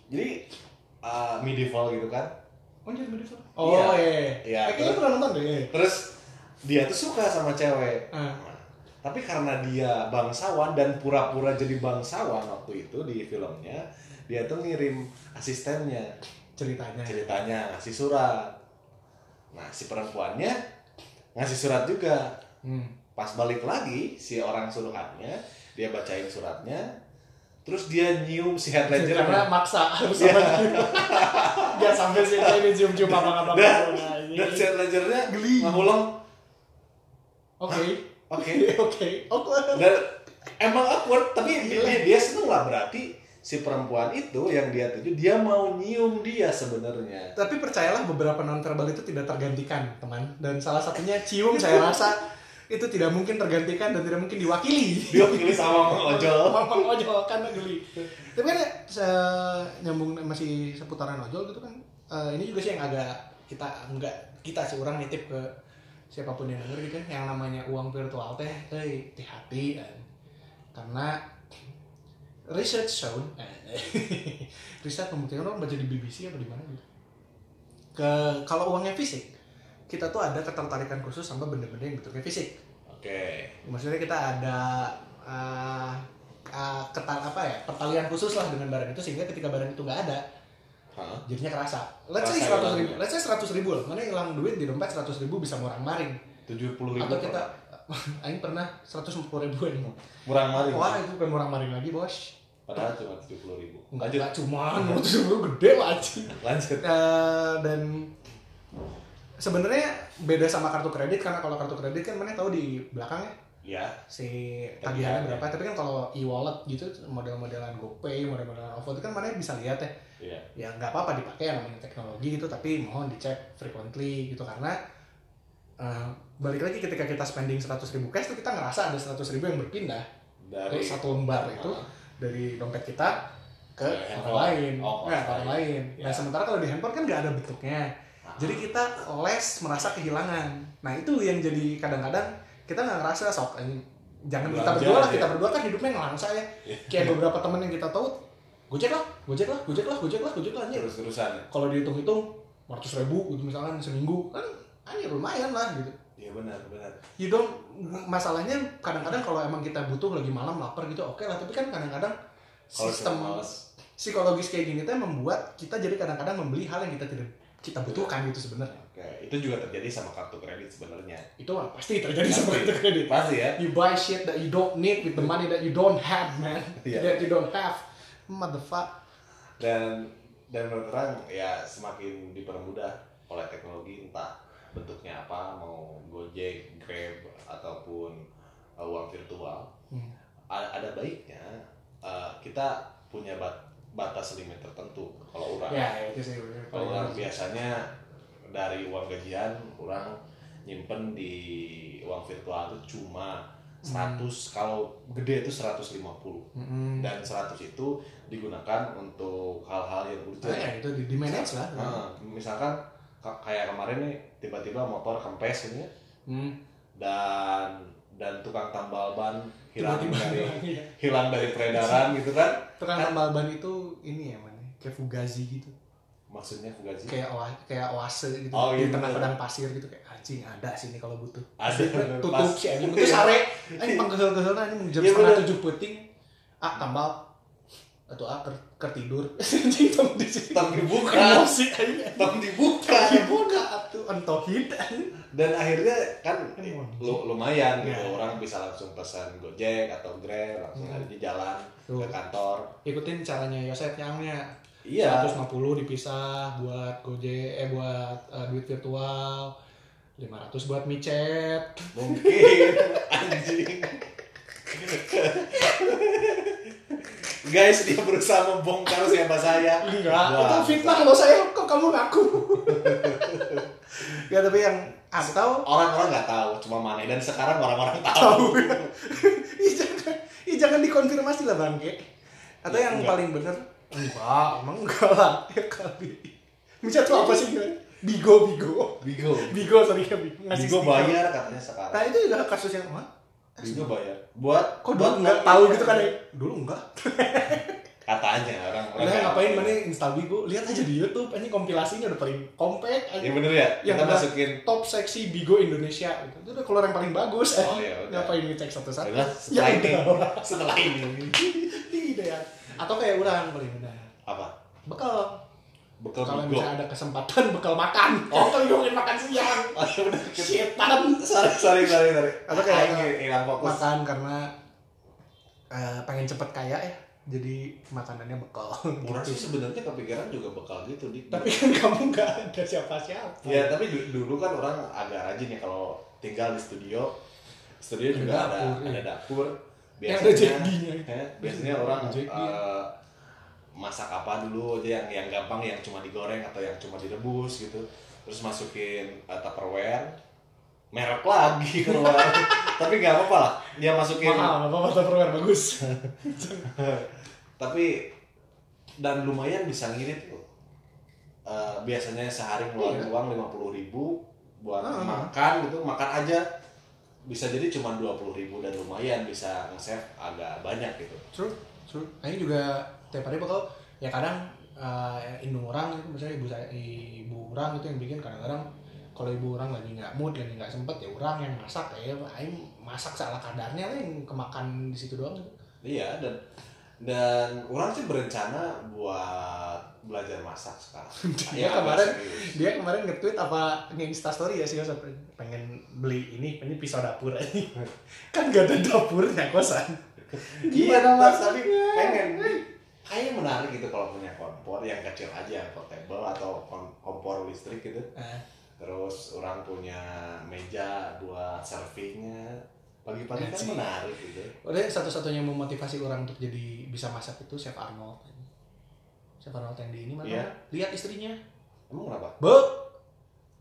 Speaker 1: jadi uh, medieval gitu kan
Speaker 2: Oh, jadi medieval.
Speaker 1: Oh,
Speaker 2: Oh, iya.
Speaker 1: Iya,
Speaker 2: Eh, kayaknya
Speaker 1: terus-
Speaker 2: pernah nonton deh.
Speaker 1: terus dia tuh suka sama cewek
Speaker 2: Ah.
Speaker 1: tapi karena dia bangsawan dan pura-pura jadi bangsawan waktu itu di filmnya dia tuh ngirim asistennya
Speaker 2: Ceritanya.
Speaker 1: ceritanya ngasih surat nah si perempuannya ngasih surat juga
Speaker 2: Hmm.
Speaker 1: pas balik lagi si orang suruhannya dia bacain suratnya terus dia nyium si head ledger
Speaker 2: Karena maksa
Speaker 1: Iya.
Speaker 2: harus sama dia. Dia sampai sini ini cium-cium abang-abang
Speaker 1: Dah.
Speaker 2: corona Nah, ini.
Speaker 1: dan si head ledgernya
Speaker 2: Geli.
Speaker 1: ngulung
Speaker 2: Oke.
Speaker 1: nah. oke
Speaker 2: Oke.
Speaker 1: Oh,
Speaker 2: Oke.
Speaker 1: dan emang awkward tapi dia, dia seneng lah berarti si perempuan itu yang dia tuju dia mau nyium dia sebenarnya
Speaker 2: Tapi percayalah beberapa non verbal itu tidak tergantikan, teman. Dan salah satunya cium saya rasa itu tidak mungkin tergantikan dan tidak mungkin diwakili.
Speaker 1: dia pilih sama Mang ojol
Speaker 2: Mamang ojol kan geli. Tapi kan se- nyambung masih seputaran ojol gitu kan. eh, ini juga sih yang agak kita enggak kita sih orang nitip ke siapapun yang denger gitu kan yang namanya uang virtual teh euy, hati-hati eh. karena research shown eh, riset membuktikan orang baca di BBC apa di mana gitu ke kalau uangnya fisik kita tuh ada ketertarikan khusus sama benda-benda yang bentuknya fisik
Speaker 1: Oke.
Speaker 2: maksudnya kita ada eh, eh, ketar apa ya pertalian khusus lah dengan barang itu sehingga ketika barang itu nggak ada
Speaker 1: Hah?
Speaker 2: jadinya kerasa let's say
Speaker 1: Kerasa iya.
Speaker 2: 100 ribu
Speaker 1: hilangnya.
Speaker 2: let's say 100 ribu lah mana hilang duit di dompet 100 ribu bisa murang maring
Speaker 1: Tujuh puluh ribu.
Speaker 2: atau kita Aing pernah 140 ribu ini
Speaker 1: murang maring.
Speaker 2: wah itu bukan murang maring lagi bos
Speaker 1: Padahal cuma tujuh puluh ribu.
Speaker 2: Enggak,
Speaker 1: Lanjut.
Speaker 2: enggak cuma menurut gue gede lah anjing.
Speaker 1: Lanjut.
Speaker 2: Eh, dan sebenarnya beda sama kartu kredit karena kalau kartu kredit kan mana tahu di belakangnya
Speaker 1: Ya.
Speaker 2: si
Speaker 1: Tagihannya.
Speaker 2: tagihannya berapa tapi kan kalau e-wallet gitu model-modelan GoPay, model-modelan OVO itu kan mana bisa lihat ya
Speaker 1: Iya.
Speaker 2: ya nggak apa-apa dipakai yang namanya teknologi gitu tapi mohon dicek frequently gitu karena eh, balik lagi ketika kita spending 100 ribu cash tuh kita ngerasa ada 100 ribu yang berpindah
Speaker 1: Dari
Speaker 2: Terus satu lembar itu
Speaker 1: Ah,
Speaker 2: dari dompet kita ke
Speaker 1: Ke
Speaker 2: orang
Speaker 1: handphone.
Speaker 2: lain,
Speaker 1: Oh,
Speaker 2: Nah,
Speaker 1: orang
Speaker 2: orang lain.
Speaker 1: Ya.
Speaker 2: Nah sementara kalau di handphone kan nggak ada bentuknya,
Speaker 1: ah.
Speaker 2: jadi kita les merasa kehilangan. Nah itu yang jadi kadang-kadang kita nggak ngerasa sok ini. Jangan
Speaker 1: Belanja
Speaker 2: kita berdua lah,
Speaker 1: aja.
Speaker 2: kita berdua kan hidupnya ngelangsa ya.
Speaker 1: Iya.
Speaker 2: Kayak beberapa temen yang kita tahu, gojek lah, gojek lah, gojek lah, gojek lah, gojek lah. anjir.
Speaker 1: terus-terusan.
Speaker 2: Kalau dihitung-hitung, 400 ribu gitu misalkan seminggu kan, anjir lumayan lah gitu.
Speaker 1: Iya benar, benar.
Speaker 2: You don't, masalahnya kadang-kadang kalau emang kita butuh lagi malam lapar gitu oke lah tapi kan kadang-kadang
Speaker 1: Kalau
Speaker 2: sistem
Speaker 1: cuma males,
Speaker 2: psikologis kayak gini tuh membuat kita jadi kadang-kadang membeli hal yang kita tidak kita butuhkan gitu sebenarnya
Speaker 1: Oke, itu juga terjadi sama kartu kredit sebenarnya.
Speaker 2: itu mah pasti terjadi sama
Speaker 1: Pasti.
Speaker 2: kartu kredit
Speaker 1: Pasti ya.
Speaker 2: you buy shit that you don't need with the money that you don't have man
Speaker 1: Iya.
Speaker 2: that you don't have motherfucker
Speaker 1: dan dan menurut orang ya semakin dipermudah oleh teknologi entah bentuknya apa mau Gojek, Grab ataupun uh, uang virtual
Speaker 2: Hmm.
Speaker 1: A- ada baiknya uh, kita punya bat- batas limit tertentu kalau orang
Speaker 2: ya itu sih
Speaker 1: kalau orang biasanya dari uang gajian orang nyimpen di uang virtual itu cuma 100 kalau gede itu 150
Speaker 2: Mm-mm.
Speaker 1: dan 100 itu digunakan untuk hal-hal yang urgent.
Speaker 2: Ah, ya, itu di, di manage lah
Speaker 1: Nah, misalkan ka- kayak kemarin nih tiba-tiba motor kempes ini ya,
Speaker 2: Hmm.
Speaker 1: dan dan tukang tambal ban hilang
Speaker 2: tiba-tiba Iya.
Speaker 1: dari hilang dari peredaran gitu kan.
Speaker 2: tukang tambal ban itu ini ya man kayak fugazi gitu
Speaker 1: Maksudnya fugazi.
Speaker 2: kayak oa, kayak oase gitu
Speaker 1: Oh, iya,
Speaker 2: di tengah
Speaker 1: bener.
Speaker 2: padang pasir gitu kayak anjing ada sini kalau butuh
Speaker 1: Ada
Speaker 2: tutup sih anjing itu sare anjing panggel-gel anjing mau jam
Speaker 1: Iya,
Speaker 2: setengah
Speaker 1: bener.
Speaker 2: tujuh peting ah tambal atau ah ker, kertidur anjing tambah Ah. di sini
Speaker 1: Tetap dibuka,
Speaker 2: emosi anjing
Speaker 1: tetap dibuka.
Speaker 2: Kan dibuka atuh entohin
Speaker 1: Dan akhirnya kan
Speaker 2: Emang.
Speaker 1: lu- lumayan gitu
Speaker 2: Ya.
Speaker 1: orang bisa langsung pesan Gojek atau Grab langsung
Speaker 2: Hmm.
Speaker 1: aja jalan
Speaker 2: Tuh.
Speaker 1: ke kantor.
Speaker 2: ikutin caranya Yosef nyangnya
Speaker 1: Iya.
Speaker 2: 150 dipisah buat gojek eh buat eh, duit virtual 500 buat micet
Speaker 1: Mungkin anjing. Guys, dia berusaha membongkar siapa saya.
Speaker 2: Enggak,
Speaker 1: Wah,
Speaker 2: itu fitnah kalau saya kok kamu ngaku. ya tapi yang atau
Speaker 1: Orang-orang nggak tahu, cuma Mane dan sekarang orang-orang tahu.
Speaker 2: ih jangan, ih jangan dikonfirmasi lah bangke. Atau
Speaker 1: Ya,
Speaker 2: yang
Speaker 1: enggak.
Speaker 2: paling bener enggak, emang enggak lah ya kali. Micat tuh apa sih? Gil? Bigo, bigo,
Speaker 1: Bigo.
Speaker 2: bigo sorry ya bigo. Ngasih
Speaker 1: Bigo
Speaker 2: stiker.
Speaker 1: bayar katanya sekarang.
Speaker 2: Nah itu juga kasus yang wah,
Speaker 1: Bigo bayar. Buat
Speaker 2: kok
Speaker 1: buat
Speaker 2: dulu nggak tahu gitu kan? ya? Dulu enggak.
Speaker 1: Katanya orang orang.
Speaker 2: Udah ngapain mana install bigo? Lihat aja di YouTube, ini kompilasinya udah paling compact. anjing.
Speaker 1: Ya bener ya.
Speaker 2: Yang
Speaker 1: Kita
Speaker 2: udah-
Speaker 1: masukin.
Speaker 2: top seksi Bigo Indonesia gitu. itu udah keluar yang paling bagus
Speaker 1: Oh
Speaker 2: eh.
Speaker 1: ya udah.
Speaker 2: ngapain ngecek satu-satu
Speaker 1: Udah, setelah
Speaker 2: Ya
Speaker 1: ini,
Speaker 2: udah.
Speaker 1: setelah ini
Speaker 2: tidak ya atau kayak orang paling benar
Speaker 1: apa?
Speaker 2: bekal
Speaker 1: Bekal
Speaker 2: kalau
Speaker 1: Bigo.
Speaker 2: misalnya ada kesempatan bekal makan oh kalau ngomongin makan siang
Speaker 1: Oh, ya bener.
Speaker 2: setan
Speaker 1: Sorry, sorry, sorry, sorry.
Speaker 2: Atau kayak-
Speaker 1: Aing hilang fokus.
Speaker 2: makan karena eh, pengen cepet kaya ya jadi makanannya bekal
Speaker 1: Orang sih
Speaker 2: gitu.
Speaker 1: sebenarnya kepikiran juga bekal gitu di.
Speaker 2: tapi kan kamu nggak ada siapa-siapa
Speaker 1: ya tapi du- dulu kan orang agak rajin ya kalau tinggal di studio, studio
Speaker 2: Ada
Speaker 1: juga ada
Speaker 2: dapur, iya.
Speaker 1: ada dapur.
Speaker 2: yang ada Iya,
Speaker 1: Biasanya,
Speaker 2: jadinya
Speaker 1: ya, biasanya orang
Speaker 2: Ada jadinya.
Speaker 1: eh, masak apa dulu aja yang yang gampang yang cuma digoreng atau yang cuma direbus gitu. Terus masukin eh, tupperware merek lagi keluar. tapi nggak apa-apa lah. Dia masukin
Speaker 2: mahal apa mata perwar bagus
Speaker 1: tapi dan lumayan bisa ngirit loh. Eh, biasanya sehari ngeluarin uang lima puluh ribu buat
Speaker 2: Iya. Ah.
Speaker 1: makan gitu makan aja bisa jadi cuma dua puluh ribu dan lumayan bisa nge-save agak banyak gitu
Speaker 2: Nah, True, true. Aing juga tiap hari bakal ya kadang eh, eh, indung orang itu misalnya ibu saya ibu orang itu yang bikin kadang-kadang kalau ibu orang lagi nggak mood lagi nggak sempet ya orang yang masak ya aing masak salah kadarnya lah yang kemakan di situ doang
Speaker 1: Iya dan dan orang sih berencana buat belajar masak sekarang.
Speaker 2: Dia
Speaker 1: Iya,
Speaker 2: kemarin
Speaker 1: serius.
Speaker 2: dia kemarin nge-tweet apa nge-insta story ya sih pengen beli ini ini pisau dapur aja kan gak ada dapurnya kosan
Speaker 1: Iya,
Speaker 2: Gimana
Speaker 1: Mas, tapi
Speaker 2: masaknya?
Speaker 1: pengen. Kayaknya menarik gitu kalau punya kompor yang kecil aja, portable atau kom- kompor listrik gitu.
Speaker 2: Eh.
Speaker 1: Terus orang punya meja buat servingnya. Pagi-pagi kan
Speaker 2: Anjing.
Speaker 1: menarik gitu.
Speaker 2: Udah Oh, satu-satunya yang memotivasi orang untuk jadi bisa masak itu Chef Arnold. Chef Arnold yang di ini mana?
Speaker 1: Iya.
Speaker 2: Lihat istrinya.
Speaker 1: Emang kenapa?
Speaker 2: Be.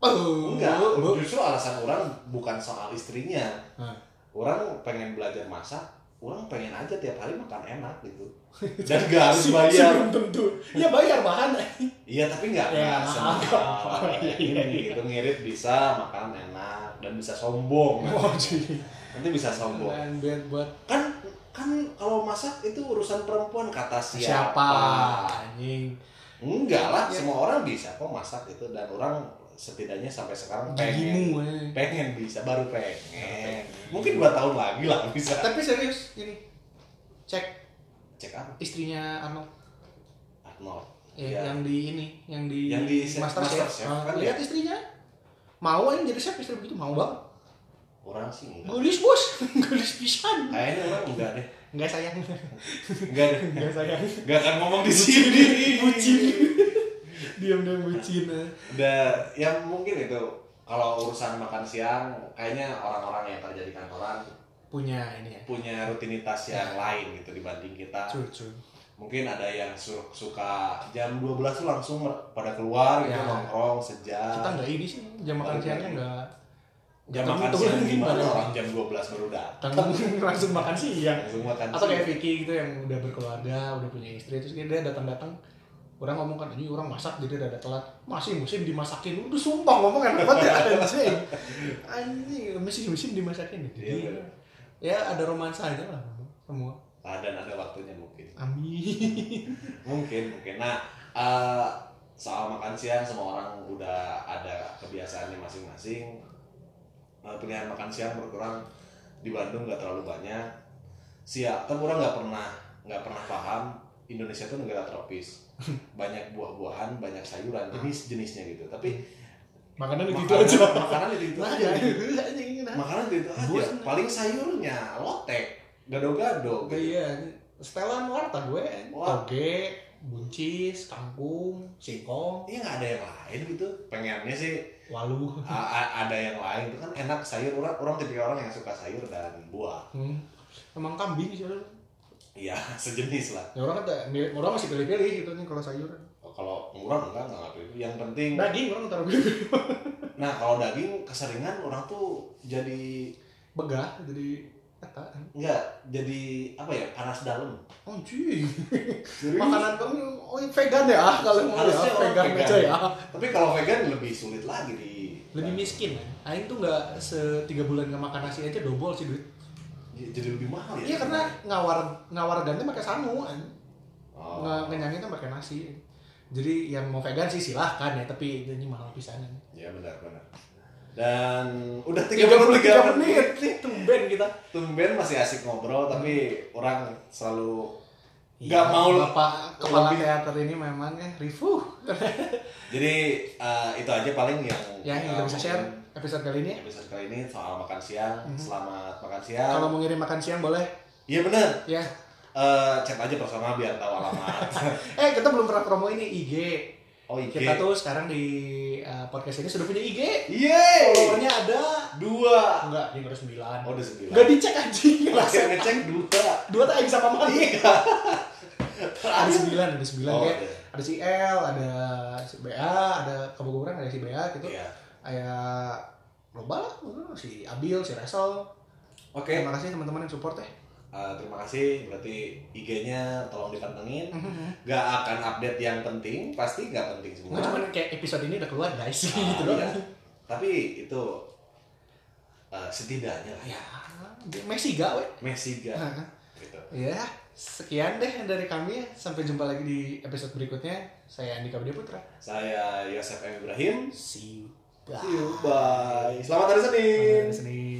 Speaker 2: Oh,
Speaker 1: Enggak,
Speaker 2: be.
Speaker 1: justru alasan orang bukan soal istrinya.
Speaker 2: Hah.
Speaker 1: Orang pengen belajar masak, orang pengen aja tiap hari makan enak gitu. Dan gak harus
Speaker 2: Si- si
Speaker 1: bayar.
Speaker 2: belum tentu. Ya bayar bahan.
Speaker 1: Iya, tapi nggak
Speaker 2: Ya, Iya,
Speaker 1: nggak semahal
Speaker 2: mahal.
Speaker 1: kayak ini gitu ngirit bisa makan enak dan bisa sombong.
Speaker 2: Oh, jadi.
Speaker 1: Nanti bisa sombong.
Speaker 2: Dan buat buat
Speaker 1: Kan kan kalau masak itu urusan perempuan kata siapa.
Speaker 2: siapa? Anjing.
Speaker 1: Enggak lah,
Speaker 2: Ya.
Speaker 1: semua orang bisa kok masak itu dan orang setidaknya sampai sekarang pengen
Speaker 2: Gigimu. eh.
Speaker 1: pengen bisa baru pengen. Mungkin dua tahun lagi lah bisa.
Speaker 2: Tapi serius ini. Cek
Speaker 1: Cek apa?
Speaker 2: istrinya Arnold.
Speaker 1: Arnold.
Speaker 2: Eh,
Speaker 1: Iya.
Speaker 2: yang di ini, yang di,
Speaker 1: Yang di Chef-
Speaker 2: Masterchef.
Speaker 1: Masterchef,
Speaker 2: Ah,
Speaker 1: kan
Speaker 2: lihat istrinya. Mau aja jadi chef istri begitu mau banget.
Speaker 1: Orang sih enggak.
Speaker 2: Gulis bos, gulis pisan.
Speaker 1: Kayaknya orang enggak deh.
Speaker 2: Enggak sayang.
Speaker 1: Enggak deh.
Speaker 2: Enggak sayang.
Speaker 1: Enggak akan ngomong di sini.
Speaker 2: Diam-diam bucin.
Speaker 1: Da, ya mungkin itu kalau urusan makan siang kayaknya orang-orang yang kerja di kantoran
Speaker 2: Punya ini ya.
Speaker 1: punya rutinitas yang lain gitu dibanding kita
Speaker 2: Cucu.
Speaker 1: mungkin ada yang su- suka jam 12 tuh langsung mer- pada keluar gitu
Speaker 2: Ya.
Speaker 1: nongkrong sejam
Speaker 2: Kita enggak ini sih jam makan
Speaker 1: Balik
Speaker 2: siangnya
Speaker 1: lagi.
Speaker 2: enggak.
Speaker 1: Iya. jam
Speaker 2: ketemu
Speaker 1: makan
Speaker 2: tuh
Speaker 1: siang gimana
Speaker 2: gimana?
Speaker 1: orang jam 12 baru datang
Speaker 2: Tanggung langsung makan siang.
Speaker 1: langsung makan
Speaker 2: Atau
Speaker 1: siang.
Speaker 2: kayak Vicky gitu yang udah berkeluarga, udah punya istri terus dia datang-datang orang ngomong kan ini orang masak jadi ada telat masih musim dimasakin udah sumpah ngomong enak banget ya anjing anjing masih musim dimasakin
Speaker 1: Iya,
Speaker 2: jadi ya ada romansa aja lah semua
Speaker 1: Nah, dan ada waktunya mungkin
Speaker 2: amin
Speaker 1: mungkin mungkin nah eh, soal makan siang semua orang udah ada kebiasaannya masing-masing Eh, pilihan makan siang berkurang di Bandung nggak terlalu banyak siap tapi orang nggak pernah nggak pernah paham Indonesia itu negara tropis banyak buah-buahan banyak sayuran jenis-jenisnya gitu tapi
Speaker 2: makanan itu
Speaker 1: makanan-
Speaker 2: aja
Speaker 1: Gitu makanan itu, itu aja makanan itu, itu aja
Speaker 2: Buah.
Speaker 1: paling sayurnya lotek gado-gado gitu.
Speaker 2: iya setelan warta gue
Speaker 1: Wah.
Speaker 2: toge buncis kangkung singkong
Speaker 1: Iya nggak ada yang lain gitu pengennya sih
Speaker 2: walu
Speaker 1: A- a- ada yang lain itu kan enak sayur orang orang tipikal orang yang suka sayur dan buah
Speaker 2: hmm. emang kambing sih lu.
Speaker 1: iya sejenis lah
Speaker 2: ya orang kata mirip orang masih pilih-pilih gitu nih kalau sayur
Speaker 1: kalau orang enggak enggak itu yang penting
Speaker 2: daging orang taruh pilih
Speaker 1: nah kalau daging keseringan orang tuh jadi
Speaker 2: begah jadi kata
Speaker 1: enggak jadi apa ya panas dalam
Speaker 2: oh cuy makanan kamu oh vegan ya kalau mau ya
Speaker 1: Harusnya orang
Speaker 2: vegan
Speaker 1: vegan.
Speaker 2: aja ya
Speaker 1: tapi kalau vegan lebih sulit lagi di
Speaker 2: lebih miskin kan Aing tuh nggak setiga bulan nggak makan nasi aja dobol sih duit
Speaker 1: jadi lebih mahal ya
Speaker 2: iya karena ngawar ngawar ganti pakai sangu kan
Speaker 1: oh.
Speaker 2: Nge- kenyangnya kan pakai nasi jadi yang mau vegan sih silahkan ya tapi ini mahal pisan
Speaker 1: ya benar benar dan udah
Speaker 2: 33
Speaker 1: 33
Speaker 2: menit nih tumben kita
Speaker 1: tumben masih asik ngobrol tapi
Speaker 2: Hmm.
Speaker 1: orang selalu
Speaker 2: Iya,
Speaker 1: nggak mau
Speaker 2: bapak kepala
Speaker 1: lebih.
Speaker 2: teater ini memang ya rifuh
Speaker 1: Jadi eh, itu aja paling yang
Speaker 2: ya yang kita
Speaker 1: eh,
Speaker 2: bisa share
Speaker 1: mungkin
Speaker 2: episode kali ini
Speaker 1: episode kali ini soal makan siang.
Speaker 2: Mhm.
Speaker 1: Selamat makan siang.
Speaker 2: kalau mau ngirim makan siang boleh
Speaker 1: Iya benar.
Speaker 2: ya
Speaker 1: Eh, chat aja personal biar tahu alamat.
Speaker 2: eh kita belum pernah promo ini IG
Speaker 1: oh IG.
Speaker 2: kita tuh sekarang di eh, podcast ini sudah punya IG
Speaker 1: Yeay.
Speaker 2: followernya ada
Speaker 1: Dua.
Speaker 2: enggak ini baru sembilan
Speaker 1: Oh udah sembilan.
Speaker 2: enggak dicek anjing
Speaker 1: Akhir ngecek dua.
Speaker 2: dua tak Aing sama mati
Speaker 1: Iya.
Speaker 2: ada sembilan ada sembilan
Speaker 1: Oh,
Speaker 2: ya
Speaker 1: ada.
Speaker 2: ada si L, ada si BA, ada kebukuran, ada si BA gitu.
Speaker 1: Iya.
Speaker 2: Aya loba lah, si Abil, si Resol.
Speaker 1: Oke.
Speaker 2: Terima kasih teman-teman yang support ya.
Speaker 1: Eh, terima kasih. Berarti IG-nya tolong dipantengin. Gak akan update yang penting. Pasti gak penting semua.
Speaker 2: Nggak cuma kayak episode ini udah keluar guys
Speaker 1: Ah,
Speaker 2: gitu loh.
Speaker 1: iya. Tapi itu eh, setidaknya lah ya.
Speaker 2: Ya, Messi gawe.
Speaker 1: Messi gak
Speaker 2: Nah,
Speaker 1: gitu.
Speaker 2: Ya, Sekian deh dari kami. ya. Sampai jumpa lagi di episode berikutnya. Saya Andika Budi Putra.
Speaker 1: Saya Yosef M. Ibrahim.
Speaker 2: See you.
Speaker 1: See you, bye. Selamat hari Senin.
Speaker 2: Selamat hari Senin.